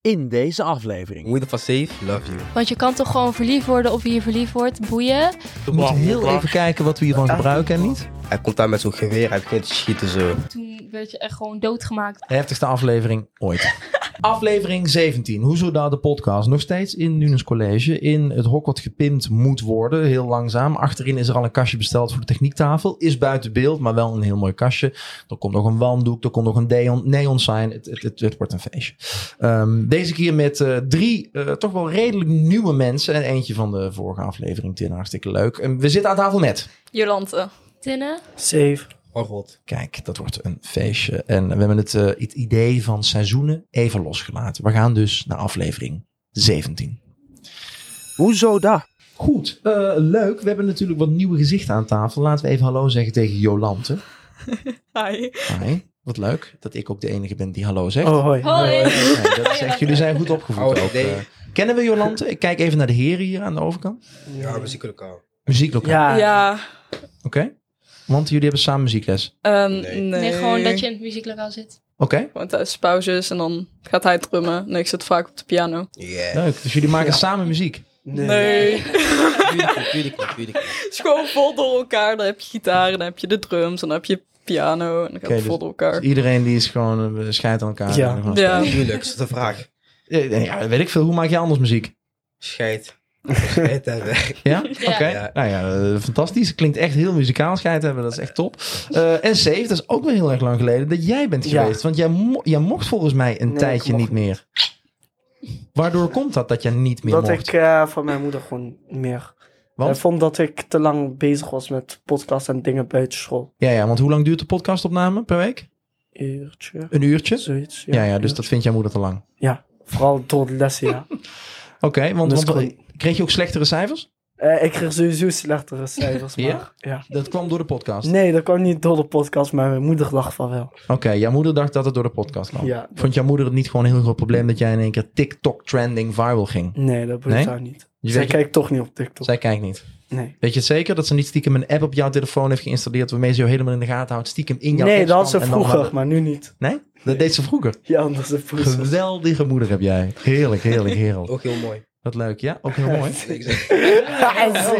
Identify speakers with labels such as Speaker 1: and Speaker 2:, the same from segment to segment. Speaker 1: in deze aflevering.
Speaker 2: Moeder van Safe, love you.
Speaker 3: Want je kan toch gewoon verliefd worden op wie je verliefd wordt, boeien.
Speaker 4: We moeten heel even kijken wat we hiervan gebruiken en niet.
Speaker 2: Hij komt daar met zo'n geweer, hij begint te schieten zo.
Speaker 3: Toen werd je echt gewoon doodgemaakt.
Speaker 4: Heftigste aflevering ooit. aflevering 17. Hoezo daar de podcast? Nog steeds in Nunes College. In het hok wat gepimpt moet worden. Heel langzaam. Achterin is er al een kastje besteld voor de techniektafel. Is buiten beeld, maar wel een heel mooi kastje. Er komt nog een wanddoek. Er komt nog een neon, neon sign. Het, het, het, het wordt een feestje. Ehm, deze keer met eh, drie eh, toch wel redelijk nieuwe mensen. En eentje van de vorige aflevering. Tin, hartstikke leuk. En we zitten aan tafel met...
Speaker 5: Jolante.
Speaker 3: Tinnen.
Speaker 6: Safe.
Speaker 2: Oh god.
Speaker 4: Kijk, dat wordt een feestje. En we hebben het, eh, het idee van seizoenen even losgelaten. We gaan dus naar aflevering 17.
Speaker 1: Hoezo daar?
Speaker 4: Goed, eh, leuk. We hebben natuurlijk wat nieuwe gezichten aan tafel. Laten we even hallo zeggen tegen Jolante.
Speaker 5: Hi.
Speaker 4: Hi. Wat leuk dat ik ook de enige ben die hallo zegt.
Speaker 6: Oh, hoi.
Speaker 3: Hoi.
Speaker 4: Nee, dat is echt, jullie zijn goed opgevoed
Speaker 2: Oude
Speaker 4: ook.
Speaker 2: idee.
Speaker 4: eh. kennen we Jolante? Ik kijk even naar de heren hier aan de overkant.
Speaker 2: Ja, muziekelijk al.
Speaker 4: Muzieklokaal,
Speaker 6: Ja.
Speaker 5: Ja,
Speaker 4: oké? Want jullie hebben samen muziekles.
Speaker 5: ehm,
Speaker 2: Nee.
Speaker 5: nee.
Speaker 3: Nee, gewoon dat je in het muzieklokaal zit.
Speaker 4: Oké,
Speaker 5: Gewoon tijdens pauzes en dan gaat hij drummen. Nee, ik zit vaak op de piano.
Speaker 2: Yeah.
Speaker 4: leuk. Dus jullie maken samen muziek.
Speaker 6: Nee.
Speaker 5: Nee.
Speaker 2: Tuurlijk, tuurlijk, tuurlijk.
Speaker 5: Het is gewoon vol door elkaar. Dan heb je gitaar, dan heb je de drums, dan heb je piano. En dan gaat
Speaker 4: Oké,
Speaker 5: het
Speaker 4: dus-
Speaker 5: vol door elkaar.
Speaker 4: Dus iedereen die is gewoon eh, scheidt aan elkaar.
Speaker 6: Ja.
Speaker 4: En gewoon-
Speaker 5: Ja.
Speaker 2: Tuurlijk, dat is de vraag.
Speaker 4: Eh, Ja, weet ik veel. Hoe maak je anders muziek?
Speaker 2: Scheid. Scheid hebben.
Speaker 4: Ja? Oké.
Speaker 2: Ja.
Speaker 4: Nou ja, eh, fantastisch. Klinkt echt heel muzikaal scheid hebben. Dat is echt top. Eh, en Safe, dat is ook weer heel erg lang geleden dat jij bent
Speaker 6: Ja.
Speaker 4: geweest. Want jij, mo- jij mocht volgens mij een
Speaker 6: Nee,
Speaker 4: tijdje
Speaker 6: ik mocht
Speaker 4: niet meer. Waardoor komt dat dat jij niet meer
Speaker 6: Dat
Speaker 4: mocht?
Speaker 6: ik eh, van mijn moeder gewoon niet meer.
Speaker 4: Want?
Speaker 6: Hij vond dat ik te lang bezig was met podcast en dingen buiten school.
Speaker 4: Ja, ja, want hoe lang duurt de podcastopname per week?
Speaker 6: Uurtje,
Speaker 4: Een uurtje?
Speaker 6: zoiets.
Speaker 4: Ja, ja, dus dat vindt jouw moeder te lang.
Speaker 6: Ja, vooral door de lessen, ja.
Speaker 4: Oké, want,
Speaker 6: Dus
Speaker 4: want- eh,
Speaker 6: gewoon-
Speaker 4: kreeg je ook slechtere cijfers?
Speaker 6: Eh, ik kreeg sowieso slechtere cijfers, maar...
Speaker 4: Ja?
Speaker 6: ja.
Speaker 4: Dat kwam door de podcast.
Speaker 6: Nee, dat kwam niet door de podcast, maar mijn moeder dacht van wel.
Speaker 4: Oké, jouw moeder dacht dat het door de podcast kwam.
Speaker 6: Ja.
Speaker 4: Vond jouw moeder het niet gewoon een heel groot probleem dat jij in één keer TikTok trending viral ging?
Speaker 6: Nee, dat boeit
Speaker 4: Nee?
Speaker 6: haar niet.
Speaker 4: Je
Speaker 6: Zij
Speaker 4: weet-
Speaker 6: kijkt toch niet op TikTok.
Speaker 4: Zij kijkt niet.
Speaker 6: Nee.
Speaker 4: Weet je het zeker dat ze niet stiekem een app op jouw telefoon heeft geïnstalleerd waarmee ze jou helemaal in de gaten houdt, stiekem in jouw
Speaker 6: Nee,
Speaker 4: apps
Speaker 6: dat had
Speaker 4: kwam en
Speaker 6: ze
Speaker 4: dan
Speaker 6: vroeger,
Speaker 4: hadden-
Speaker 6: maar nu niet.
Speaker 4: Nee? Dat deed ze vroeger.
Speaker 6: Ja, anders de poes.
Speaker 4: Geweldige moeder heb jij. Heerlijk, heerlijk, heerlijk.
Speaker 2: Ook heel mooi.
Speaker 4: Wat leuk, ja? Ook heel mooi. Oh,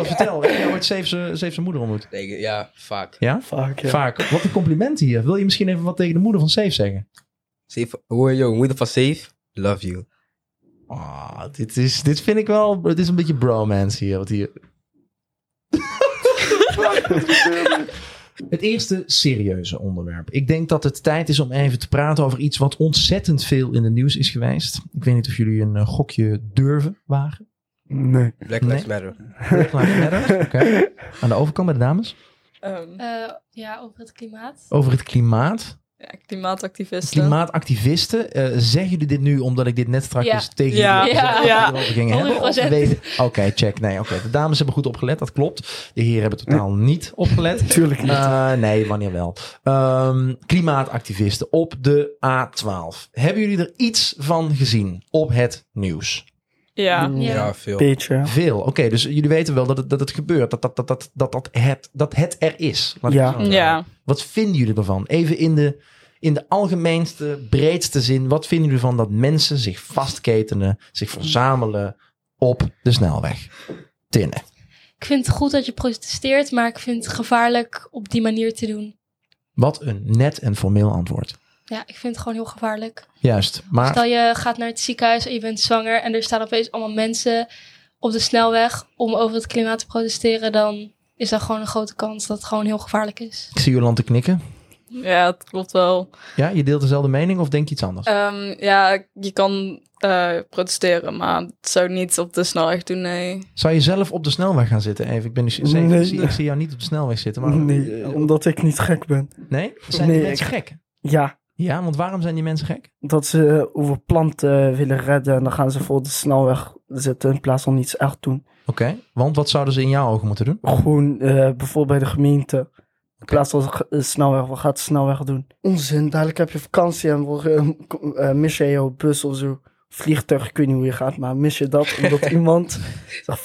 Speaker 4: vertel, heb jij ooit Safe zijn moeder ontmoet?
Speaker 2: Nee, ja, vaak.
Speaker 4: Ja?
Speaker 6: Fuck, ja.
Speaker 4: Vaak. Wat een compliment hier. Wil je misschien even wat tegen de moeder van Safe zeggen?
Speaker 2: Safe. Hoor je, moeder van Safe, love you.
Speaker 4: Ah, dit, is, dit vind ik wel... Dit is een beetje bromance hier. Wat hier... Het eerste serieuze onderwerp. Ik denk dat het tijd is om even te praten over iets wat ontzettend veel in het nieuws is geweest. Ik weet niet of jullie een eh, gokje durven wagen.
Speaker 6: Nee.
Speaker 2: Black
Speaker 4: Nee.
Speaker 2: Lives Matter.
Speaker 4: Black Lives Matter. Oké. Aan de overkant bij de dames.
Speaker 5: Ehm,
Speaker 3: Eh, ja, over het klimaat.
Speaker 4: Over het klimaat.
Speaker 5: ja, klimaatactivisten.
Speaker 4: Klimaatactivisten. Eh, zeggen jullie dit nu omdat ik dit net straks
Speaker 3: Ja.
Speaker 4: tegen
Speaker 5: Ja.
Speaker 4: jullie gezegd heb dat
Speaker 5: Ja.
Speaker 4: we erover gingen hebben? Of
Speaker 3: 100%.
Speaker 4: weten- Oké, check. Nee, oké. De dames hebben goed opgelet. Dat klopt. De heren hebben totaal niet opgelet.
Speaker 6: Tuurlijk niet.
Speaker 4: Eh, nee, wanneer wel. Ehm, klimaatactivisten op de A12. Hebben jullie er iets van gezien op het nieuws?
Speaker 5: Ja.
Speaker 3: Ja.
Speaker 2: Ja, veel.
Speaker 6: Beetje.
Speaker 4: Veel. Oké, dus jullie weten wel dat het, dat het gebeurt. Dat, dat, dat, dat, dat, dat, het, dat het er is. Laat ik
Speaker 6: Ja.
Speaker 4: het zo zeggen.
Speaker 5: Ja.
Speaker 4: Wat vinden jullie ervan? Even in de, in de algemeenste, breedste zin. Wat vinden jullie ervan dat mensen zich vastketenen, zich verzamelen op de snelweg? Tinnen.
Speaker 3: Ik vind het goed dat je protesteert, maar ik vind het gevaarlijk op die manier te doen.
Speaker 4: Wat een net en formeel antwoord.
Speaker 3: Ja, ik vind het gewoon heel gevaarlijk.
Speaker 4: Juist. Maar
Speaker 3: Stel je gaat naar het ziekenhuis en je bent zwanger en er staan opeens allemaal mensen op de snelweg om over het klimaat te protesteren, dan is dat gewoon een grote kans dat het gewoon heel gevaarlijk is.
Speaker 4: ik zie Jolante knikken.
Speaker 5: ja, het klopt wel.
Speaker 4: Ja, je deelt dezelfde mening of denk je iets anders?
Speaker 5: Ehm, ja, je kan eh, protesteren, maar het zou niet op de snelweg doen, nee.
Speaker 4: Zou je zelf op de snelweg gaan zitten? Even, ik, ben, niet- zeker,
Speaker 6: Nee.
Speaker 4: ik, zie, ik zie jou niet op de snelweg zitten. Maar, eh,
Speaker 6: Nee, omdat ik niet gek ben.
Speaker 4: Nee? Zijn
Speaker 6: Nee,
Speaker 4: die mensen
Speaker 6: ik-
Speaker 4: gek?
Speaker 6: Ja,
Speaker 4: Ja, want waarom zijn die mensen gek?
Speaker 6: dat ze eh, over planten eh, willen redden en dan gaan ze voor de snelweg zitten in plaats van iets echt doen.
Speaker 4: Oké, want wat zouden ze in jouw ogen moeten doen?
Speaker 6: Gewoon eh, bijvoorbeeld bij de gemeente. In plaats van ge- eh, snelweg, wat gaat de snelweg doen? Onzin, dadelijk heb je vakantie en word- eh, k- eh, mis je jouw bus of zo. Vliegtuig, ik weet niet hoe je gaat, maar mis je dat omdat iemand zich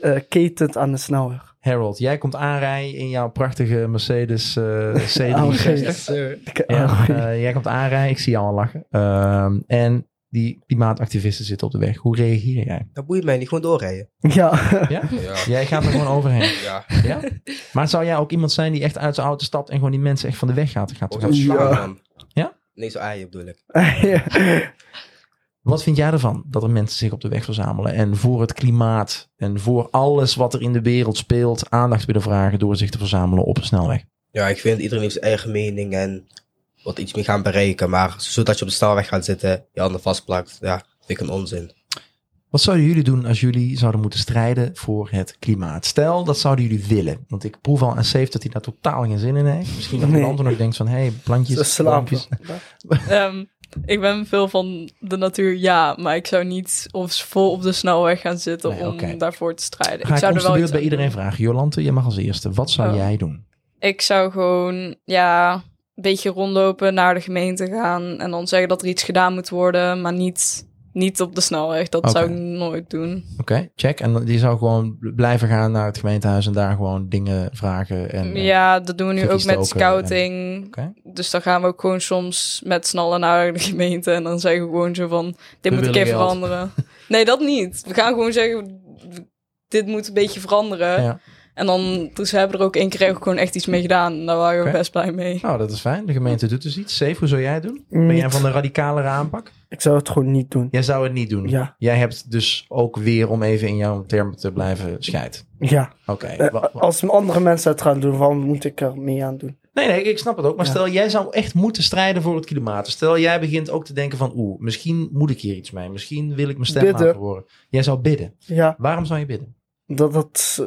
Speaker 6: vastketent aan de snelweg.
Speaker 4: Harold, jij komt aanrijden in jouw prachtige Mercedes eh C63.
Speaker 6: Oh, jezus.
Speaker 4: eh,
Speaker 6: eh,
Speaker 4: Ja, eh, jij komt aanrijden, ik zie jou al lachen. Ehm, en die klimaatactivisten zitten op de weg. Hoe reageer jij?
Speaker 2: Dat boeit mij niet, gewoon doorrijden.
Speaker 6: Ja,
Speaker 2: Ja.
Speaker 4: Jij gaat er gewoon overheen.
Speaker 2: Ja.
Speaker 4: Ja? Maar zou jij ook iemand zijn die echt uit zijn auto stapt en gewoon die mensen echt van de weg gaat? gaat
Speaker 2: Of
Speaker 4: gaat-
Speaker 2: zo'n
Speaker 6: Oh, Ja.
Speaker 2: slang, man.
Speaker 4: Ja?
Speaker 2: Nee, zo aaien bedoel ik.
Speaker 4: Wat vind jij ervan dat er mensen zich op de weg verzamelen en voor het klimaat en voor alles wat er in de wereld speelt aandacht willen vragen door zich te verzamelen op een snelweg?
Speaker 2: Ja, ik vind iedereen heeft zijn eigen mening en wat iets mee gaan bereiken. Maar zodat je op de snelweg gaat zitten, je handen vastplakt, ja, vind ik een onzin.
Speaker 4: Wat zouden jullie doen als jullie zouden moeten strijden voor het klimaat? Stel, dat zouden jullie willen. Want ik proef al aan Safe dat hij daar totaal geen zin in heeft. Misschien dat
Speaker 6: Nee.
Speaker 4: Anton nog denkt van, hé, hey, plantjes,
Speaker 6: ze slapen.
Speaker 4: boompjes.
Speaker 5: Ehm, ik ben veel van de natuur, ja. Maar ik zou niet of vol op de snelweg gaan zitten
Speaker 4: Nee,
Speaker 5: om
Speaker 4: oké.
Speaker 5: daarvoor te strijden.
Speaker 4: Ga ik,
Speaker 5: zou
Speaker 4: om de beurt
Speaker 5: iets
Speaker 4: bij
Speaker 5: aan
Speaker 4: iedereen
Speaker 5: doen.
Speaker 4: vragen. Jolante, je mag als eerste. Wat zou
Speaker 5: Oh.
Speaker 4: jij doen?
Speaker 5: Ik zou gewoon, ja, een beetje rondlopen, naar de gemeente gaan. En dan zeggen dat er iets gedaan moet worden. Maar niet, niet op de snelweg. Dat
Speaker 4: Oké.
Speaker 5: zou ik nooit doen.
Speaker 4: Oké, check. En die zou gewoon bl- blijven gaan naar het gemeentehuis en daar gewoon dingen vragen. En, en-
Speaker 5: ja, dat doen we nu
Speaker 4: cookies
Speaker 5: ook met
Speaker 4: stoken en-
Speaker 5: scouting.
Speaker 4: Oké.
Speaker 5: Dus dan gaan we ook gewoon soms met snallen naar de gemeente. En dan zeggen we gewoon zo van, dit moet een
Speaker 4: willen
Speaker 5: keer
Speaker 4: geld.
Speaker 5: veranderen. Nee, dat niet. We gaan gewoon zeggen, dit moet een beetje veranderen.
Speaker 4: Ja.
Speaker 5: En dan, dus we hebben er ook één keer ook gewoon echt iets mee gedaan. En daar waren we
Speaker 4: Oké.
Speaker 5: best blij mee.
Speaker 4: Nou, dat is fijn. De gemeente doet dus iets. Safe, hoe zou jij het doen? Ben jij
Speaker 6: Niet.
Speaker 4: van de radicalere aanpak?
Speaker 6: Ik zou het gewoon niet doen.
Speaker 4: Jij zou het niet doen.
Speaker 6: Ja.
Speaker 4: Jij hebt dus ook weer, om even in jouw termen te blijven, scheid.
Speaker 6: Ja,
Speaker 4: Oké.
Speaker 6: Eh,
Speaker 4: wa- wa-
Speaker 6: als andere mensen het gaan doen, waarom moet ik er mee aan doen?
Speaker 4: Nee, nee, ik snap het ook. Maar
Speaker 6: Ja.
Speaker 4: stel, jij zou echt moeten strijden voor het klimaat. Stel, jij begint ook te denken van, oeh, misschien moet ik hier iets mee. Misschien wil ik mijn stem
Speaker 6: Bidden.
Speaker 4: laten horen. Jij zou bidden.
Speaker 6: Ja,
Speaker 4: Waarom zou je bidden?
Speaker 6: dat dat,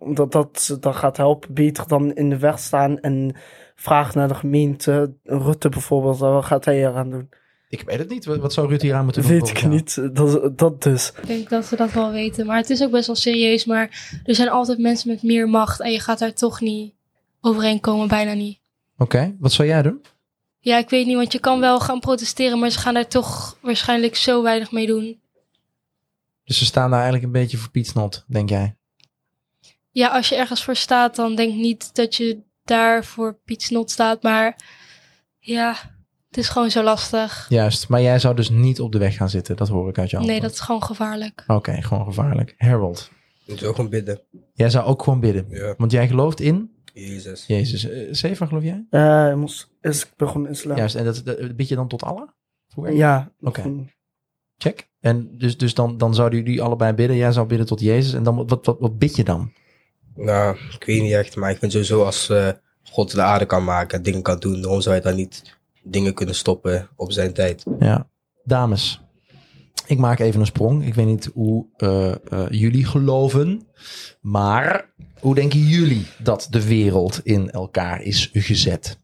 Speaker 6: eh, dat, dat, dat gaat helpen. Beter dan in de weg staan en vragen naar de gemeente. Rutte bijvoorbeeld, wat gaat hij eraan doen?
Speaker 4: Ik weet het niet. Wat wat zou Rutte hier aan moeten doen?
Speaker 6: Weet
Speaker 4: volgens
Speaker 6: ik
Speaker 4: jou?
Speaker 6: niet. Dat, dat dus.
Speaker 3: Ik denk dat ze dat wel weten. Maar het is ook best wel serieus. Maar er zijn altijd mensen met meer macht. En je gaat daar toch niet overheen komen. Bijna niet.
Speaker 4: Oké, wat zou jij doen?
Speaker 3: Ja, ik weet niet. Want je kan wel gaan protesteren. Maar ze gaan daar toch waarschijnlijk zo weinig mee doen.
Speaker 4: Dus ze staan daar eigenlijk een beetje voor Piet Snot, denk jij?
Speaker 3: Ja, als je ergens voor staat. Dan denk niet dat je daar voor Piet Snot staat. Maar ja, het is gewoon zo lastig.
Speaker 4: Juist, maar jij zou dus niet op de weg gaan zitten. Dat hoor ik uit jou.
Speaker 3: Nee, dat is gewoon gevaarlijk.
Speaker 4: Oké, gewoon gevaarlijk. Harold,
Speaker 2: Moet je ook gewoon bidden.
Speaker 4: jij zou ook gewoon bidden.
Speaker 2: Ja.
Speaker 4: Want jij gelooft in
Speaker 2: Jezus.
Speaker 4: Jezus. Eh, Zeven, geloof jij?
Speaker 6: Eh, ik moest, is ik ben gewoon islam.
Speaker 4: Juist, en dat, dat bid je dan tot Allah? Vroeger?
Speaker 6: Ja.
Speaker 4: Oké.
Speaker 6: gewoon-
Speaker 4: Check. En dus, dus dan, dan zouden jullie allebei bidden. Jij zou bidden tot Jezus. En dan, wat, wat, wat bid je dan?
Speaker 2: Nou, ik weet niet echt, maar ik vind sowieso als eh, God de aarde kan maken, dingen kan doen, waarom zou hij dan niet dingen kunnen stoppen op zijn tijd?
Speaker 4: Ja. Dames, ik maak even een sprong. Ik weet niet hoe eh, eh, jullie geloven, maar hoe denken jullie dat de wereld in elkaar is gezet?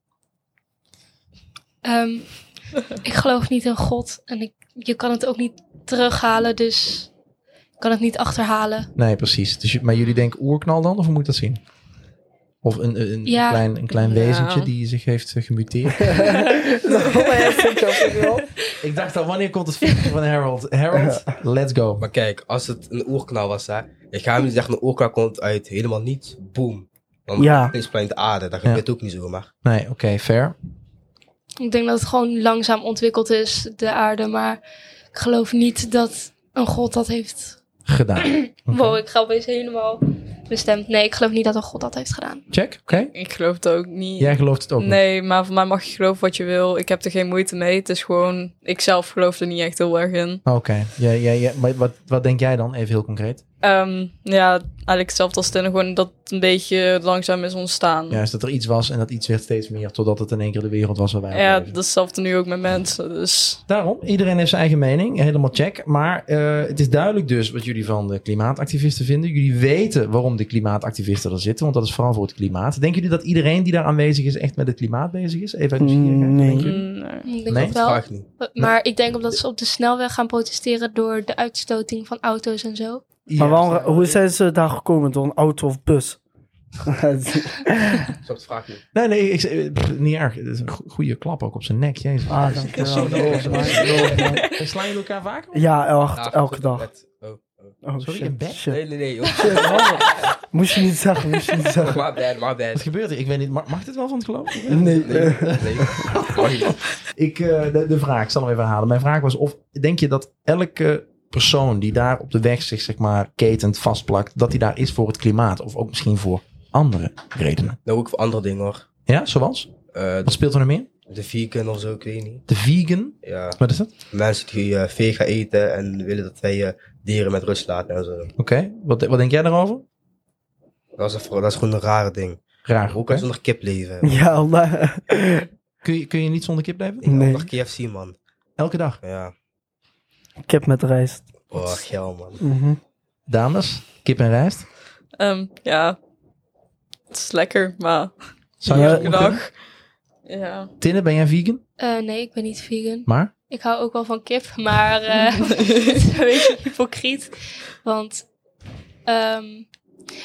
Speaker 3: Ehm, ik geloof niet in God. En ik, je kan het ook niet terughalen. Dus ik kan het niet achterhalen.
Speaker 4: Nee, precies. Dus, je- maar jullie denken oerknal dan, of hoe moet ik dat zien? Of een, een, een
Speaker 3: Ja.
Speaker 4: klein, een klein
Speaker 5: Ja.
Speaker 4: wezentje die zich heeft eh, gemuteerd. ik dacht al, wanneer komt het filmpje van Harold? Harold, let's go.
Speaker 2: Maar kijk, als het een oerknal was, hè, ik ga hem niet zeggen, een oerknal komt uit helemaal niets, boom. Dan
Speaker 6: Ja.
Speaker 2: is planeet de aarde, dat
Speaker 4: Ja.
Speaker 2: gebeurt ook niet zomaar.
Speaker 4: Nee, oké, fair.
Speaker 3: Ik denk dat het gewoon langzaam ontwikkeld is, de aarde. Maar ik geloof niet dat een god dat heeft.
Speaker 4: Gedaan. Oké.
Speaker 3: Wow, ik ga opeens helemaal bestemd. Nee, ik geloof niet dat een god dat heeft gedaan.
Speaker 4: Check, oké.
Speaker 5: Ik geloof het ook niet.
Speaker 4: Jij gelooft het ook niet.
Speaker 5: nee, maar voor mij mag je geloven wat je wil. Ik heb er geen moeite mee. Het is gewoon, ik zelf geloof er niet echt heel erg in.
Speaker 4: Ah, Oké, ja, ja, ja. maar wat, wat denk jij dan, even heel concreet?
Speaker 5: Ehm, ja, eigenlijk hetzelfde als Tinder, gewoon dat het een beetje langzaam is ontstaan. Ja,
Speaker 4: Juist dat er iets was en dat iets werd steeds meer totdat het in één keer de wereld was waar wij op
Speaker 5: dat is
Speaker 4: leven.
Speaker 5: hetzelfde nu ook met mensen, dus...
Speaker 4: Daarom, iedereen heeft zijn eigen mening, helemaal check. Maar eh, het is duidelijk dus wat jullie van de klimaatactivisten vinden. Jullie weten waarom de klimaatactivisten er zitten, want dat is vooral voor het klimaat. Denken jullie dat iedereen die daar aanwezig is echt met het klimaat bezig is? Even uit nieuwsgierigheid,
Speaker 6: Nee.
Speaker 4: denk je?
Speaker 5: mm, nee.
Speaker 3: Ik denk
Speaker 4: Nee,
Speaker 3: dat
Speaker 2: Dat
Speaker 3: wel.
Speaker 2: vraag ik niet.
Speaker 3: Maar ik denk omdat ze op de snelweg gaan protesteren door de uitstoting van auto's en zo.
Speaker 6: Maar waarom, hoe zijn ze daar gekomen? Door een auto of bus? Ah,
Speaker 2: Snap de vraag niet.
Speaker 4: Nee, nee, ik, eh, pff, niet erg. Het is een go- goede klap ook op zijn nek, jezus. Oh,
Speaker 6: ah, dankjewel.
Speaker 4: Zo,
Speaker 6: Lord, man. Lord, man.
Speaker 4: Slaan jullie elkaar vaker?
Speaker 6: Ja, elk- elke dag.
Speaker 2: Met- oh, oh.
Speaker 6: Oh,
Speaker 4: Sorry,
Speaker 6: shit,
Speaker 4: een bed?
Speaker 6: shit.
Speaker 2: nee, nee.
Speaker 6: Shit, man. moest je niet zeggen, moest je niet
Speaker 2: my
Speaker 6: zeggen.
Speaker 2: bad, my
Speaker 4: Wat
Speaker 2: bad.
Speaker 4: gebeurt er? Ik weet niet. Mag, mag dit wel van het geloof?
Speaker 6: Nee,
Speaker 2: Nee,
Speaker 6: eh,
Speaker 2: nee. Mag niet.
Speaker 4: Ik, eh, de, de vraag, ik zal hem even herhalen. Mijn vraag was of denk je dat elke persoon die daar op de weg zich zeg maar ketent vastplakt, dat die daar is voor het klimaat of ook misschien voor andere redenen?
Speaker 2: Nou, ook voor andere dingen hoor.
Speaker 4: Ja, zoals?
Speaker 2: Eh,
Speaker 4: Wat speelt er nog meer?
Speaker 2: de vegan of zo, ik weet niet.
Speaker 4: De vegan.
Speaker 2: Ja,
Speaker 4: Wat is dat?
Speaker 2: mensen die eh vegan eten en willen dat wij eh, dieren met rust laten en zo.
Speaker 4: Oké, wat, wat denk jij daarover?
Speaker 2: Dat is, een- dat is gewoon een rare ding.
Speaker 4: Raar.
Speaker 2: Hoe
Speaker 4: oké.
Speaker 2: kan zonder kip leven?
Speaker 6: ja, Allah.
Speaker 4: Kun, je, kun je niet zonder kip blijven?
Speaker 2: Ik nee.
Speaker 6: Nee.
Speaker 2: nog KFC, man.
Speaker 4: Elke dag.
Speaker 2: Ja.
Speaker 6: Ik heb met rijst.
Speaker 2: Oh, geil, man.
Speaker 6: Mhm.
Speaker 4: Dames, kip en rijst.
Speaker 5: Ehm, ja, het is lekker, maar
Speaker 4: Zou je
Speaker 6: Ja.
Speaker 4: zonder kunnen?
Speaker 5: dag. Ja.
Speaker 4: Tinne, ben jij vegan?
Speaker 3: Eh, nee, ik ben niet vegan.
Speaker 4: Maar?
Speaker 3: Ik hou ook wel van kip, maar eh, het is een beetje hypocriet. Want ehm,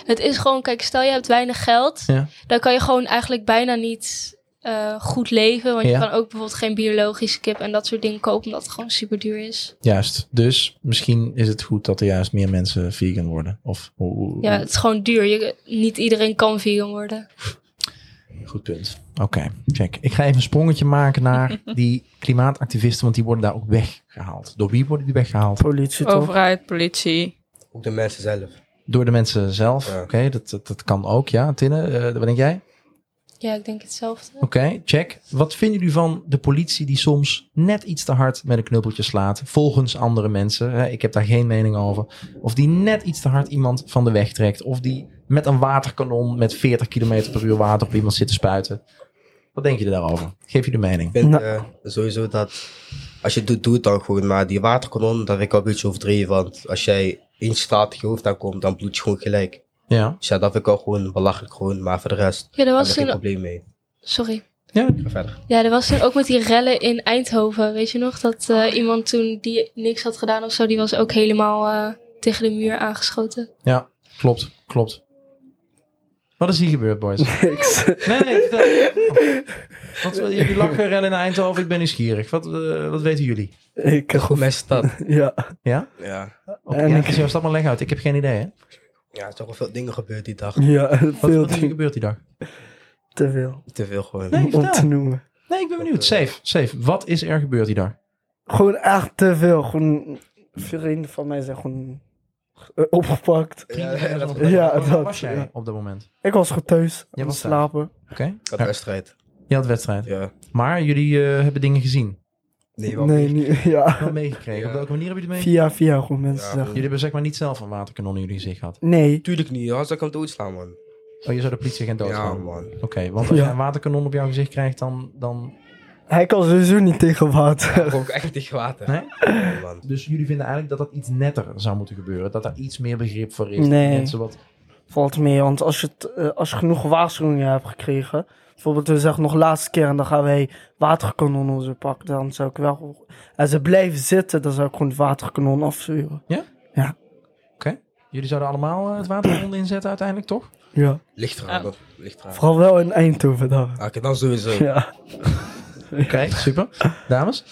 Speaker 3: het is gewoon, kijk, stel je hebt weinig geld,
Speaker 4: Ja.
Speaker 3: dan kan je gewoon eigenlijk bijna niet eh, goed leven. Want
Speaker 4: Ja.
Speaker 3: je kan ook bijvoorbeeld geen biologische kip en dat soort dingen kopen, omdat het gewoon super duur is.
Speaker 4: Juist. Dus misschien is het goed dat er juist meer mensen vegan worden. Of hoe- hoe-
Speaker 3: Ja, het is gewoon duur. Je, niet iedereen kan vegan worden.
Speaker 4: Goed punt. Oké, check. Ik ga even een sprongetje maken naar die klimaatactivisten, want die worden daar ook weggehaald. Door wie worden die weggehaald?
Speaker 6: Politie toch?
Speaker 5: Overheid, politie.
Speaker 2: Ook de mensen zelf.
Speaker 4: Door de mensen zelf. Oké,
Speaker 2: Ja.
Speaker 4: dat, dat, dat kan ook, ja. Tinne, eh, wat denk jij?
Speaker 3: Ja, ik denk hetzelfde.
Speaker 4: Oké, check. Wat vinden jullie van de politie die soms net iets te hard met een knuppeltje slaat, volgens andere mensen? Hè? Ik heb daar geen mening over. Of die net iets te hard iemand van de weg trekt. Of die met een waterkanon met 40 km per uur water op iemand zit te spuiten. Wat denk je daarover? Geef je de mening.
Speaker 2: Ik vind
Speaker 6: Nou.
Speaker 2: eh, sowieso dat als je het doet, doe het dan gewoon. Maar die waterkanon, daar vind ik al een beetje overdreven. Want als jij één straat je hoofd aankomt, dan bloed je gewoon gelijk.
Speaker 4: Ja.
Speaker 2: Dus ja, dat vind ik al gewoon belachelijk gewoon. Maar voor de rest,
Speaker 3: Ja, er
Speaker 2: daar
Speaker 3: nou
Speaker 2: heb ik
Speaker 3: was
Speaker 2: geen
Speaker 3: toen...
Speaker 2: probleem mee.
Speaker 3: Sorry.
Speaker 4: Ja,
Speaker 2: Ga verder.
Speaker 3: Ja, er was toen ook met die rellen in Eindhoven, weet je nog? Dat eh, iemand toen die niks had gedaan of zo, die was ook helemaal eh, tegen de muur aangeschoten.
Speaker 4: Ja, klopt, klopt. Wat is hier gebeurd, boys?
Speaker 6: Niks.
Speaker 4: Nee, nee, vertel. Wat, jullie lachen rennen in Eindhoven, ik ben nieuwsgierig. Wat, eh, wat weten jullie?
Speaker 6: Ik heb
Speaker 2: Goed mensen dat.
Speaker 6: Ja.
Speaker 4: Ja?
Speaker 2: Ja.
Speaker 4: Oké,
Speaker 6: En
Speaker 4: ja,
Speaker 6: ik-
Speaker 4: ik zie stap maar leg uit. Ik heb geen idee, hè?
Speaker 2: ja, er is toch wel veel dingen gebeurd die dag.
Speaker 6: Ja,
Speaker 4: Wat,
Speaker 6: veel
Speaker 4: wat is er
Speaker 6: te,
Speaker 4: gebeurd die dag?
Speaker 6: te veel
Speaker 2: Te veel gewoon.
Speaker 4: Nee,
Speaker 6: om te
Speaker 4: vertel.
Speaker 6: noemen.
Speaker 4: Nee, ik ben benieuwd.
Speaker 2: eh,
Speaker 4: Safe, safe. Wat is er gebeurd die dag?
Speaker 6: Gewoon echt te veel. Gewoon vrienden van mij zijn gewoon eh, opgepakt.
Speaker 2: Ja,
Speaker 4: Vrienden,
Speaker 2: dat-
Speaker 4: waar-
Speaker 6: ja,
Speaker 4: waar
Speaker 6: dat-
Speaker 4: was jij
Speaker 6: ja.
Speaker 4: op dat moment?
Speaker 6: Ik was gewoon thuis
Speaker 4: Jij
Speaker 6: aan het
Speaker 4: was thuis.
Speaker 6: slapen.
Speaker 4: Oké.
Speaker 2: Dat
Speaker 4: Ja,
Speaker 2: wedstrijd.
Speaker 4: je had wedstrijd.
Speaker 2: Ja.
Speaker 4: Maar jullie eh, hebben dingen gezien.
Speaker 2: Nee, wel
Speaker 6: Nee, niet, ja.
Speaker 4: Wel meegekregen.
Speaker 2: Ja.
Speaker 4: Op welke manier hebben jullie het mee?
Speaker 6: Via, via gewoon mensen
Speaker 2: Ja,
Speaker 6: zeggen.
Speaker 4: Jullie hebben zeg maar niet zelf een waterkanon in jullie gezicht gehad.
Speaker 6: Nee,
Speaker 2: Tuurlijk niet, anders kan ik hem doodslaan, man.
Speaker 4: Oh, je zou de politieagent
Speaker 2: ja,
Speaker 4: doodslaan.
Speaker 2: man.
Speaker 4: Oké, want als
Speaker 6: Ja.
Speaker 4: je een waterkanon op jouw gezicht krijgt, dan, dan
Speaker 6: hij kan sowieso niet tegen water.
Speaker 2: Ik ook echt tegen water.
Speaker 4: Nee?
Speaker 2: Nee, man.
Speaker 4: Dus jullie vinden eigenlijk dat dat iets netter zou moeten gebeuren. Dat daar iets meer begrip voor is. Dat
Speaker 6: Nee.
Speaker 4: Mensen wat...
Speaker 6: Valt mee, want als je, het, eh, als je genoeg waarschuwingen hebt gekregen... Bijvoorbeeld, we zeggen nog laatste keer en dan gaan wij waterkanonnen zo pakken. Dan zou ik wel... En ze blijven zitten, dan zou ik gewoon het waterkanon afzuren.
Speaker 4: Jullie zouden allemaal eh, het waterkanon inzetten uiteindelijk, toch?
Speaker 6: Ja,
Speaker 2: Ligt eraan, dat- ligt eraan.
Speaker 6: vooral wel in Eindhoven dan.
Speaker 2: Ah, Oké, dan sowieso.
Speaker 6: Ja.
Speaker 4: Oké, super. Dames?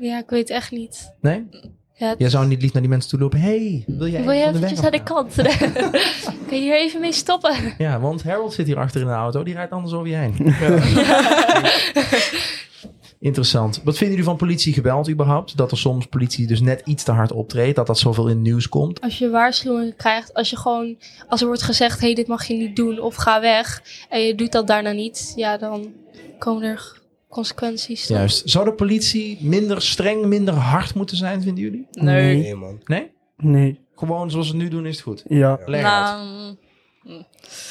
Speaker 3: Ja, ik weet echt niet.
Speaker 4: Nee?
Speaker 3: Ja, het-
Speaker 4: Jij zou niet lief naar die mensen toe lopen. hey, wil jij
Speaker 3: Wil je
Speaker 4: even van de weg
Speaker 3: eventjes aan de
Speaker 4: afgaan?
Speaker 3: kant? kan je hier even mee stoppen?
Speaker 4: Ja, want Harold zit hier achter in de auto. Die rijdt anders over je heen. Interessant. Wat vinden jullie van politiegebeld überhaupt? Dat er soms politie dus net iets te hard optreedt. Dat dat zoveel in het nieuws komt.
Speaker 3: Als je waarschuwingen krijgt, als je gewoon, als er wordt gezegd, hé, hey, dit mag je niet doen of ga weg. En je doet dat daarna niet, ja, dan komen er consequenties. toch?
Speaker 4: Juist. Zou de politie minder streng, minder hard moeten zijn, vinden jullie?
Speaker 5: Nee.
Speaker 6: Nee.
Speaker 2: Nee, man.
Speaker 4: Nee?
Speaker 6: Nee,
Speaker 4: Gewoon zoals ze het nu doen is het goed.
Speaker 6: ja.
Speaker 4: Leg uit.
Speaker 5: Nou,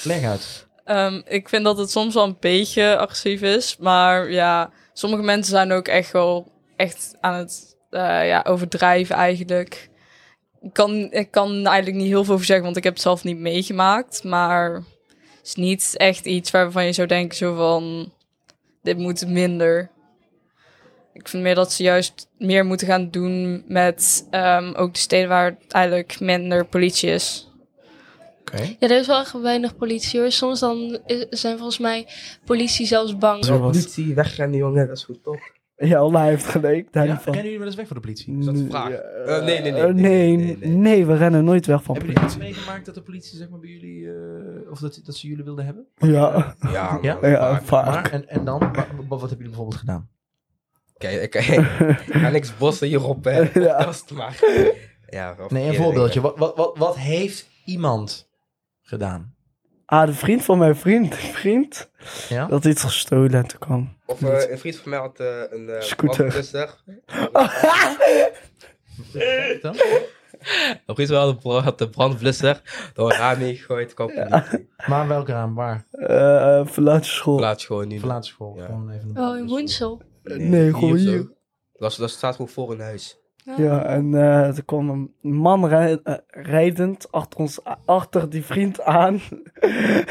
Speaker 4: Leg uit.
Speaker 5: ehm, ik vind dat het soms wel een beetje agressief is. Maar ja, sommige mensen zijn ook echt wel echt aan het eh, ja, overdrijven eigenlijk. Ik kan, ik kan eigenlijk niet heel veel over zeggen, want ik heb het zelf niet meegemaakt. Maar het is niet echt iets waarvan je zou denken zo van, dit moet minder. Ik vind meer dat ze juist meer moeten gaan doen met ehm, ook de steden waar eigenlijk minder politie is.
Speaker 4: Oké.
Speaker 3: Ja, er is wel echt weinig politie hoor. Soms dan is- zijn volgens mij politie zelfs bang.
Speaker 6: Zo wat.
Speaker 2: Politie, wegrennen, jongen, dat is goed toch?
Speaker 6: Ja, Allah heeft gelijk. Daar
Speaker 4: Ja?
Speaker 6: niet van.
Speaker 4: Rennen jullie wel eens weg voor de politie? Is dat de vraag?
Speaker 6: Ja,
Speaker 2: Eh, nee, nee, nee, nee,
Speaker 6: eh,
Speaker 2: nee, nee, nee.
Speaker 6: nee, we rennen nooit weg van
Speaker 4: Hebben jullie iets
Speaker 6: politie.
Speaker 4: meegemaakt dat de politie zeg maar bij jullie, eh, of dat, dat ze jullie wilden hebben?
Speaker 6: Ja,
Speaker 2: Ja, man,
Speaker 4: Ja?
Speaker 6: ja,
Speaker 2: maar-
Speaker 4: Maar,
Speaker 6: vaak.
Speaker 4: en, en dan, Wa- wa- wat hebben jullie bijvoorbeeld gedaan?
Speaker 2: Kijk, kijk. Ga niks bossen hierop, hè.
Speaker 6: Ja.
Speaker 2: Dat is het maar. Ja, wel
Speaker 4: Nee, een
Speaker 2: verkeerde
Speaker 4: voorbeeldje. Wat, wat, wat, wat heeft iemand gedaan?
Speaker 6: Ah, de vriend van mijn vriend. Vriend.
Speaker 4: Ja?
Speaker 6: Dat iets gestolen en toen kwam.
Speaker 2: dingen. Of eh, een vriend van mij had eh, een... eh,
Speaker 6: Scooter.
Speaker 2: brandblusser.
Speaker 4: Dan?
Speaker 2: Een vriend van mij had een bra- had een brandblusser. Door een raam gegooid, kwam politie.
Speaker 4: Maar welk raam? Waar?
Speaker 6: Eh, eh, verlaat je school.
Speaker 2: Plaats gewoon nu.
Speaker 4: Verlaat school.
Speaker 2: Ja.
Speaker 4: Gewoon even een-
Speaker 3: Oh, in Woensel.
Speaker 6: Nee, gewoon
Speaker 2: of zo.
Speaker 6: hier.
Speaker 2: Dat, is- dat staat gewoon voor een huis.
Speaker 6: Ja, en eh, er kwam een man rij- eh, rijdend achter, ons, achter die vriend aan.
Speaker 4: En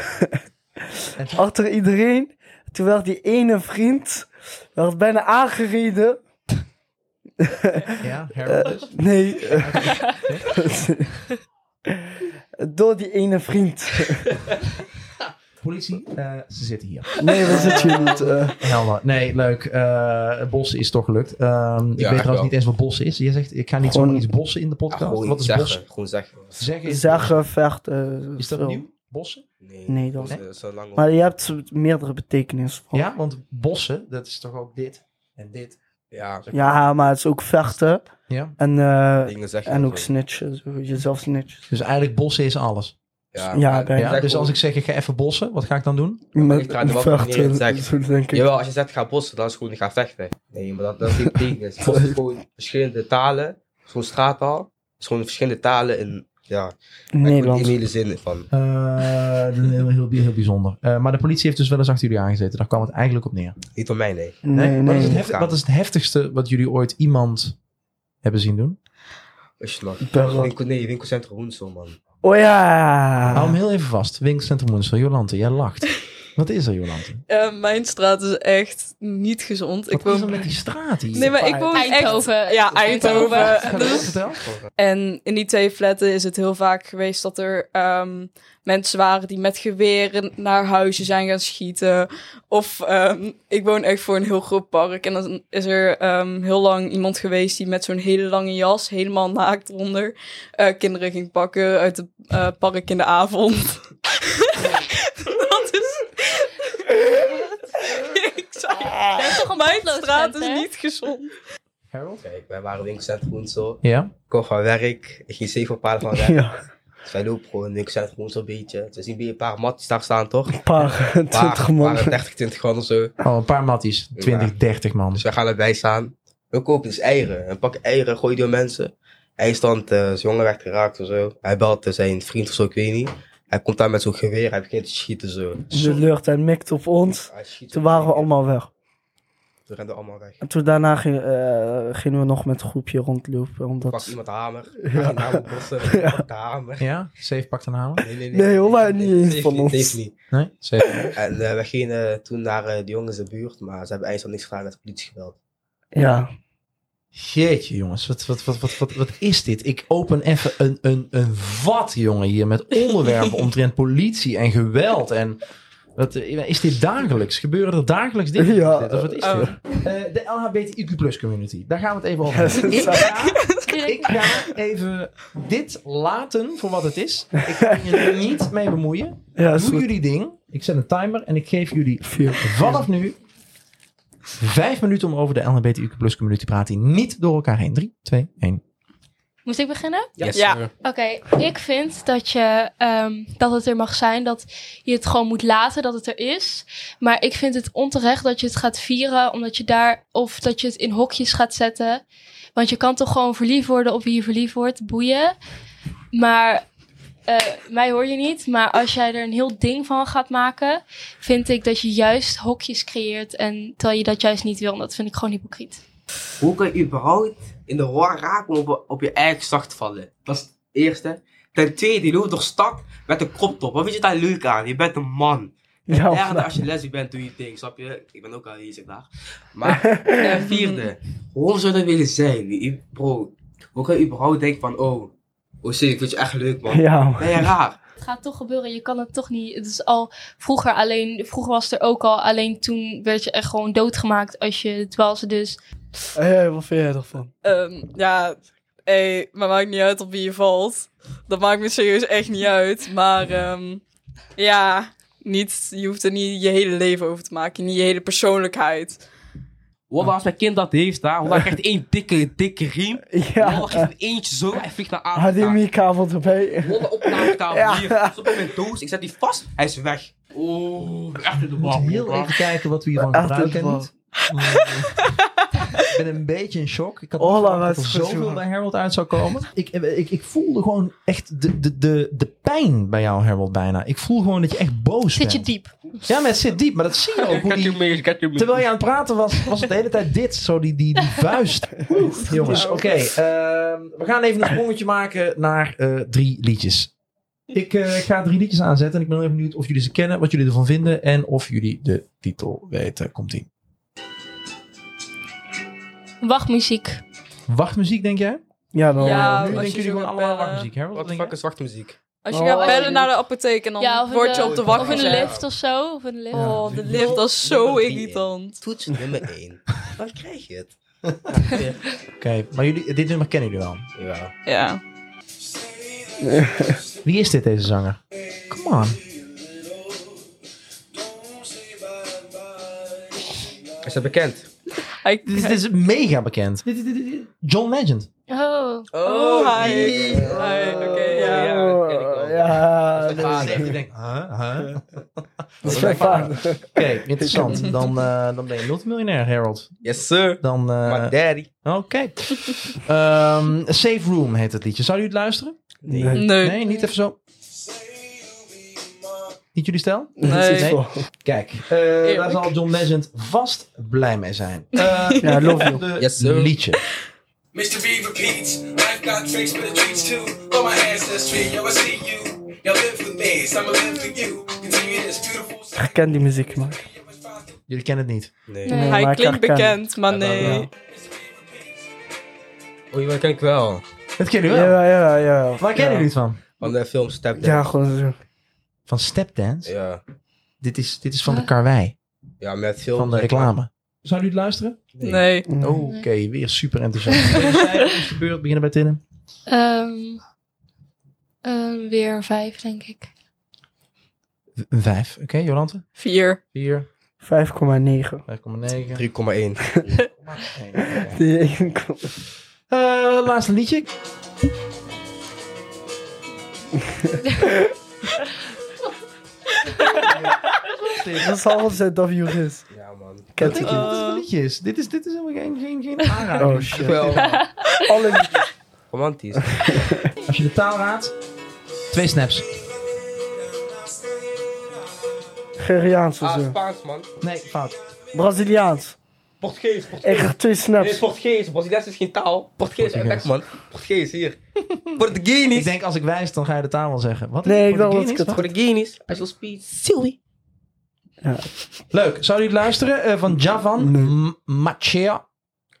Speaker 4: toen-
Speaker 6: achter iedereen. Toen werd die ene vriend werd bijna aangereden.
Speaker 4: Ja, Harold dus.
Speaker 6: Nee. eh, Door die ene vriend.
Speaker 4: Politie, eh, ze zitten hier.
Speaker 6: Nee, dat zit je niet. eh.
Speaker 4: Helder. Nee, leuk. Eh bossen is toch gelukt. Ehm, ik weet
Speaker 2: echt
Speaker 4: trouwens
Speaker 2: wel.
Speaker 4: niet eens wat bossen is. Je zegt, ik ga niet
Speaker 6: Gewoon-
Speaker 4: zomaar iets bossen in de
Speaker 2: Ja,
Speaker 4: podcast.
Speaker 2: gewoon
Speaker 4: wat is
Speaker 2: iets zeggen.
Speaker 4: bossen?
Speaker 2: Gewoon zeggen.
Speaker 4: Zeggen is,
Speaker 6: Zeggen, vechten.
Speaker 4: is dat
Speaker 6: veel.
Speaker 4: nieuw? Bossen?
Speaker 2: Nee,
Speaker 6: Nee, dan-
Speaker 2: dat is, eh, zo lang
Speaker 6: Maar je hebt meerdere betekenissen. voor.
Speaker 4: Ja, want bossen, dat is toch ook dit en dit.
Speaker 2: Ja,
Speaker 6: Ja, maar het is ook vechten.
Speaker 4: Ja.
Speaker 6: En, eh,
Speaker 2: dingen zeggen.
Speaker 6: en
Speaker 2: of
Speaker 6: ook
Speaker 2: zo.
Speaker 6: snitchen. zo, Jezelf snitchen.
Speaker 4: Dus eigenlijk bossen is alles.
Speaker 2: Ja,
Speaker 6: Ja,
Speaker 2: maar-
Speaker 6: bijna.
Speaker 4: Ja,
Speaker 2: zeg
Speaker 4: dus
Speaker 2: gewoon-
Speaker 4: als ik zeg, ik ga even bossen, wat ga ik dan doen?
Speaker 2: maar
Speaker 6: Met
Speaker 2: ik ga er wel
Speaker 6: vechten,
Speaker 2: niet in zeggen.
Speaker 6: zo denk ik.
Speaker 2: Jawel, als je zegt ga bossen, dan is het gewoon ga vechten. Nee, maar dat, dat is niet tegen. Het is gewoon verschillende talen. Het is gewoon straattaal. Het is gewoon verschillende talen in, ja, in de
Speaker 6: Nederlands.
Speaker 2: hele zin van.
Speaker 4: Eh, heel, heel, heel bijzonder. Eh, maar de politie heeft dus wel eens achter jullie aangezeten. Daar kwam het eigenlijk op neer.
Speaker 2: Niet van mij, nee.
Speaker 6: Nee,
Speaker 4: Wat, is het
Speaker 6: nee.
Speaker 4: hef- wat is het heftigste wat jullie ooit iemand hebben zien doen?
Speaker 2: Weet je nog?
Speaker 6: Perron.
Speaker 2: Winkel, nee, winkelcentrum Woensel, man.
Speaker 6: Oh
Speaker 4: Hou hem
Speaker 6: ja.
Speaker 4: heel even vast. Winkelcentrum Woensel. Jolante, jij lacht. Wat is er, Jolante?
Speaker 5: Eh, mijn straat is echt niet gezond. Ik
Speaker 4: Wat is er
Speaker 5: woon...
Speaker 4: met die straat hier?
Speaker 5: Nee, maar ik woon
Speaker 3: Eindhoven.
Speaker 5: echt... Ja, Eindhoven.
Speaker 4: Ga door,
Speaker 5: Dus-
Speaker 4: vertel.
Speaker 5: En in die twee flatten is het heel vaak geweest dat er ehm, mensen waren die met geweren naar huizen zijn gaan schieten. Of ehm, ik woon echt voor een heel groot park. En dan is er ehm, heel lang iemand geweest die met zo'n hele lange jas, helemaal naakt onder, eh, kinderen ging pakken uit het eh, park in de avond. dat is. ik zei,
Speaker 3: Dat is toch een
Speaker 5: mijn
Speaker 3: potloodvent,
Speaker 5: straat is
Speaker 3: hè?
Speaker 5: niet gezond.
Speaker 4: Harold?
Speaker 2: Kijk, wij waren winkelcentrum Woensel.
Speaker 4: Ja?
Speaker 2: Ik kwam van werk. Ik ging zeven paarden van werk.
Speaker 6: Ja,
Speaker 2: Dus wij lopen gewoon in winkelcentrum Woensel een beetje. Ze zien bij een paar matjes daar staan, toch?
Speaker 6: een paar, twintig man.
Speaker 2: waren 30, 20 man of zo.
Speaker 4: Oh, een paar matties. 20,
Speaker 2: Ja.
Speaker 4: 30 man.
Speaker 2: Dus wij gaan erbij staan. We kopen dus eieren. Een pak eieren gooi je door mensen. Hij is dan eh, zijn jongen werd geraakt of zo. Hij belt eh, zijn vriend of zo, ik weet niet. Hij komt daar met zo'n geweer. Hij begint te schieten zo.
Speaker 6: De lucht en mikt op ons.
Speaker 2: Hij schiet
Speaker 6: Toen waren we allemaal weg.
Speaker 2: Toen renden we allemaal weg.
Speaker 6: En toen daarna ging- eh, gingen we nog met een groepje rondlopen.
Speaker 2: Pak
Speaker 6: Omdat...
Speaker 2: iemand de hamer. Ja. Naam bossen. Pak de hamer.
Speaker 4: Ja? Safe pakt een hamer?
Speaker 2: Nee, nee,
Speaker 6: Nee, hoor, maar niet eens
Speaker 2: Deze
Speaker 6: van
Speaker 2: niet,
Speaker 6: ons.
Speaker 2: deze niet.
Speaker 4: Nee? Safe.
Speaker 2: En eh, we gingen eh, toen naar eh, de jongens in de buurt, maar ze hebben eindelijk niks gevraagd met de politie gebeld.
Speaker 6: Ja,
Speaker 4: Jeetje, jongens. Wat, wat, wat, wat, wat, wat is dit? Ik open even een, een, een vat, jongen, hier. Met onderwerpen omtrent politie en geweld. En wat, eh, is dit dagelijks? Gebeuren er dagelijks dingen?
Speaker 6: Ja.
Speaker 4: Of wat is dit?
Speaker 5: Oh.
Speaker 4: Eh, de LHBTIQ community. Daar gaan we het even over
Speaker 6: Ja,
Speaker 4: hebben.
Speaker 6: dat is-
Speaker 4: Ik ga,
Speaker 3: Direct
Speaker 4: ik ga even dit laten voor wat het is. Ik ga je er niet mee bemoeien.
Speaker 6: ja is
Speaker 4: Doe
Speaker 6: goed.
Speaker 4: jullie ding. Ik zet een timer en ik geef jullie vanaf nu vijf minuten om over de LHBTIQ plus community te praten. Niet door elkaar heen. Drie, twee, één.
Speaker 3: Moet ik beginnen?
Speaker 5: Yes, Ja.
Speaker 3: Oké, ik vind dat, je, ehm, dat het er mag zijn, dat je het gewoon moet laten dat het er is. Maar ik vind het onterecht dat je het gaat vieren, omdat je daar, of dat je het in hokjes gaat zetten. Want je kan toch gewoon verliefd worden op wie je verliefd wordt, boeien. Maar eh, mij hoor je niet. Maar als jij er een heel ding van gaat maken, vind ik dat je juist hokjes creëert. En terwijl je dat juist niet wil, en dat vind ik gewoon hypocriet.
Speaker 2: Hoe kan je überhaupt in de war raken om op, op je eigen zacht te vallen? Dat is het eerste. Ten tweede, je loopt door stad met een kroptop. Wat vind je daar leuk aan? Je bent een man.
Speaker 7: Oh,
Speaker 6: Ja,
Speaker 2: Ja,
Speaker 7: nou.
Speaker 6: maar-
Speaker 2: als je lesbisch bent, doe je ding, snap je? Ik ben ook al hier, zeg daar. Maar, eh, vierde, waarom zou dat willen zijn? I- Bro, hoe kan je überhaupt denken van, oh, oh shit, ik vind je echt leuk, man.
Speaker 6: Ja, maar-
Speaker 2: Ben je raar?
Speaker 3: het gaat toch gebeuren. Je kan het toch niet. Het is al vroeger alleen. Vroeger was het er ook al. Alleen toen werd je echt gewoon doodgemaakt als je dwaalse. Dus
Speaker 6: Hé, wat vind jij ervan?
Speaker 5: Ehm, ja, hey, maar maakt niet uit op wie je valt. Dat maakt me serieus echt niet uit. Maar ehm, ja, niet, je hoeft er niet je hele leven over te maken. Niet je hele persoonlijkheid.
Speaker 7: Wat als mijn kind dat heeft, daar, want dan krijgt één dikke, dikke riem. Ja.
Speaker 6: Ja,
Speaker 7: Dan geeft eentje zo, hij vliegt naar Afrika.
Speaker 6: HDMI-kabel erbij.
Speaker 7: Wonder opnamekabel
Speaker 6: Ja.
Speaker 7: hier, stop in mijn doos, ik zet die vast, hij is weg. Oeh,
Speaker 2: Oh,
Speaker 7: echt in de war.
Speaker 4: Heel even kijken wat we hiervan
Speaker 6: Echt
Speaker 4: gebruiken. en
Speaker 6: een
Speaker 4: niet. ik ben een beetje in shock. Ik had
Speaker 6: Hola,
Speaker 4: niet verwacht dat
Speaker 6: wat
Speaker 4: er
Speaker 6: is goed,
Speaker 4: zoveel
Speaker 6: jongen.
Speaker 4: bij Harold uit zou komen. Ik, eh, ik, ik voelde gewoon echt de, de, de, de pijn bij jou, Harold, bijna. Ik voel gewoon dat je echt boos
Speaker 3: zit je
Speaker 4: bent.
Speaker 3: diep.
Speaker 4: Ja, maar het zit diep. Maar dat zie je ook. Hoe
Speaker 7: Get
Speaker 4: die,
Speaker 7: your mail, get your mail.
Speaker 4: Terwijl je aan het praten was, was het de hele tijd dit. Zo die, die, die vuist. Oeh, jongens, oké. ehm, we gaan even een sprongetje maken naar eh, drie liedjes. Ik eh, ga drie liedjes aanzetten. En ik ben heel erg benieuwd of jullie ze kennen, wat jullie ervan vinden. En of jullie de titel weten. Komt ie.
Speaker 3: Wachtmuziek.
Speaker 4: Wachtmuziek, denk jij?
Speaker 6: Ja, dan.
Speaker 5: Ja,
Speaker 4: nu
Speaker 5: als
Speaker 4: denken
Speaker 5: je
Speaker 4: jullie
Speaker 5: zo
Speaker 4: gewoon
Speaker 5: gaat
Speaker 4: allemaal
Speaker 5: bellen.
Speaker 4: wachtmuziek. Hè?
Speaker 2: Wat de
Speaker 4: denk
Speaker 2: fuck
Speaker 4: jij?
Speaker 2: is wachtmuziek?
Speaker 5: Als je
Speaker 6: Oh,
Speaker 5: gaat
Speaker 6: oh,
Speaker 5: bellen
Speaker 6: die-
Speaker 5: naar de apotheek en dan
Speaker 3: Ja, of in
Speaker 5: word je
Speaker 3: de-
Speaker 5: op de wacht
Speaker 3: Of in de
Speaker 5: gezet.
Speaker 3: lift of zo. Of in de lift.
Speaker 5: Oh, de lift, dat is
Speaker 2: Nummer
Speaker 5: zo
Speaker 2: drie in.
Speaker 5: irritant.
Speaker 2: Toets nummer 1. Dan krijg je het.
Speaker 4: Oké, maar jullie, dit nummer kennen jullie wel.
Speaker 2: Ja.
Speaker 5: Ja.
Speaker 4: Wie is dit, deze zanger? Come on.
Speaker 2: Is dat bekend?
Speaker 5: Hij-
Speaker 4: Dit is, dit is mega bekend. Dit- dit- dit- dit- John Legend.
Speaker 3: Oh.
Speaker 5: Oh, hi.
Speaker 2: die.
Speaker 5: Hi, oké, ja.
Speaker 2: dat ken ik wel.
Speaker 6: Ah, Ja,
Speaker 2: Dat is mijn
Speaker 6: nee.
Speaker 2: vader.
Speaker 4: Ik denk, huh? Huh?
Speaker 6: dat is mijn vader.
Speaker 4: Oké, interessant. Dan, eh, dan ben je multimiljonair, Harold.
Speaker 2: Yes, sir.
Speaker 4: Dan, eh,
Speaker 2: My daddy.
Speaker 4: Oké. Ehm, Safe Room heet het liedje. Zou jullie het luisteren?
Speaker 6: Nee.
Speaker 5: Nee.
Speaker 4: Nee, niet even zo. Niet jullie stijl?
Speaker 6: Dat is
Speaker 5: Nee.
Speaker 6: wel-
Speaker 4: Kijk, eh, daar
Speaker 5: Eerlijk.
Speaker 4: zal John Legend vast blij mee zijn. Eh
Speaker 6: Ja, love you.
Speaker 4: de
Speaker 2: Yes, sir.
Speaker 4: liedje.
Speaker 8: Mr. B repeats, life got tricks for the treats too. For my ancestry, yo, I see you. Now live for me, summer live for you. Continue this beautiful
Speaker 6: Ik ken die muziek, man.
Speaker 4: Jullie kennen het niet.
Speaker 2: Nee.
Speaker 3: Nee.
Speaker 5: Hij
Speaker 6: maar ik
Speaker 5: klinkt
Speaker 6: herken.
Speaker 5: bekend, maar nee.
Speaker 2: Oh, die ken ik wel.
Speaker 4: Dat kennen jullie wel.
Speaker 6: Ja, ja, ja.
Speaker 4: Waar kennen
Speaker 6: ja.
Speaker 4: jullie het van?
Speaker 2: Van de film Step
Speaker 6: Ja, gewoon zo.
Speaker 4: Van Stepdance.
Speaker 2: Ja.
Speaker 4: Dit, is, dit is van de karwei.
Speaker 2: Ja, met veel...
Speaker 4: Van de reclame. Zou jullie het luisteren?
Speaker 5: Nee.
Speaker 4: Oké, weer super enthousiast. Wat is de beurt? Beginnen bij Tinnen.
Speaker 3: Ehm, ehm, weer vijf, denk ik.
Speaker 4: Een vijf. Oké, Jolante?
Speaker 5: Vier.
Speaker 4: Vier.
Speaker 6: 5,9.
Speaker 4: 5,9.
Speaker 2: 3,1.
Speaker 6: Die ene komt-
Speaker 4: Eh, laatste liedje.
Speaker 6: Dat is al wat ZW is.
Speaker 2: Ja, man.
Speaker 6: Kent
Speaker 4: Denk
Speaker 6: ik
Speaker 4: je dat het
Speaker 6: niet.
Speaker 4: een liedje is? Dit is, dit is helemaal geen, geen, geen aanrader.
Speaker 6: Oh shit.
Speaker 2: Wel,
Speaker 6: Alle liedjes.
Speaker 2: romantisch.
Speaker 4: Als je de taal raadt, twee snaps.
Speaker 6: Geriaans of
Speaker 2: Ah,
Speaker 6: zo.
Speaker 2: Spaans, man.
Speaker 4: Nee, fout.
Speaker 6: Braziliaans.
Speaker 2: Portugees, Portugees.
Speaker 6: Ik krijg twee
Speaker 2: Nee,
Speaker 6: snaps.
Speaker 2: Portugees. Braziliaans is geen taal. Portugees, eh,
Speaker 4: Portugees.
Speaker 2: weg, man. Portugees, hier.
Speaker 4: Ik
Speaker 2: Portuguinis.
Speaker 4: denk als ik wijs, dan ga je de taal wel zeggen. Wat?
Speaker 6: Nee, ik dacht dat
Speaker 4: Portugees?
Speaker 6: ik het goed...
Speaker 2: Portuguinis. I shall speak Silvi.
Speaker 4: Leuk. Zou jullie het luisteren? Eh, van Javan
Speaker 6: Nee.
Speaker 4: M- Machea.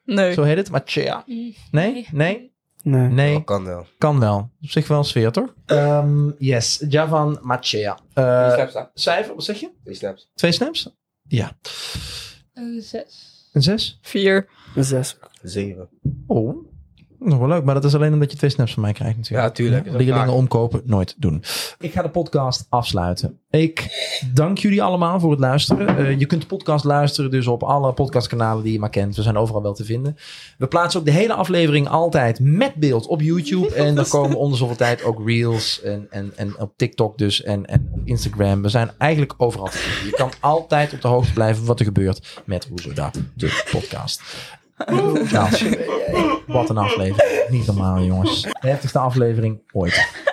Speaker 5: Nee.
Speaker 4: Zo heet het? Machea.
Speaker 3: Mm.
Speaker 4: Nee? Nee?
Speaker 6: Nee.
Speaker 4: Nee.
Speaker 2: kan wel.
Speaker 4: Kan wel. Op zich wel een sfeer, toch? Ehm, yes. Javan Machea.
Speaker 2: Drie
Speaker 4: Eh
Speaker 2: snaps, hè?
Speaker 4: cijfer, wat zeg je?
Speaker 2: Drie snaps.
Speaker 4: Twee snaps? Ja.
Speaker 3: Een zes.
Speaker 4: Een zes?
Speaker 5: Vier.
Speaker 6: Een zes.
Speaker 2: Zeven.
Speaker 4: Oh. Nog wel leuk, maar dat is alleen omdat je twee snaps van mij krijgt natuurlijk.
Speaker 2: Ja, tuurlijk.
Speaker 4: Ja, Leerlingen omkopen, nooit doen. Ik ga de podcast afsluiten. Ik dank jullie allemaal voor het luisteren. Eh, je kunt de podcast luisteren dus op alle podcastkanalen die je maar kent. We zijn overal wel te vinden. We plaatsen ook de hele aflevering altijd met beeld op YouTube. En er komen onder zoveel tijd ook reels en, en, en op TikTok dus en, en op Instagram. We zijn eigenlijk overal te vinden. Je kan altijd op de hoogte blijven wat er gebeurt met Hoezo Dat, de podcast. Nou, wat een aflevering. Niet normaal, jongens. De heftigste aflevering ooit.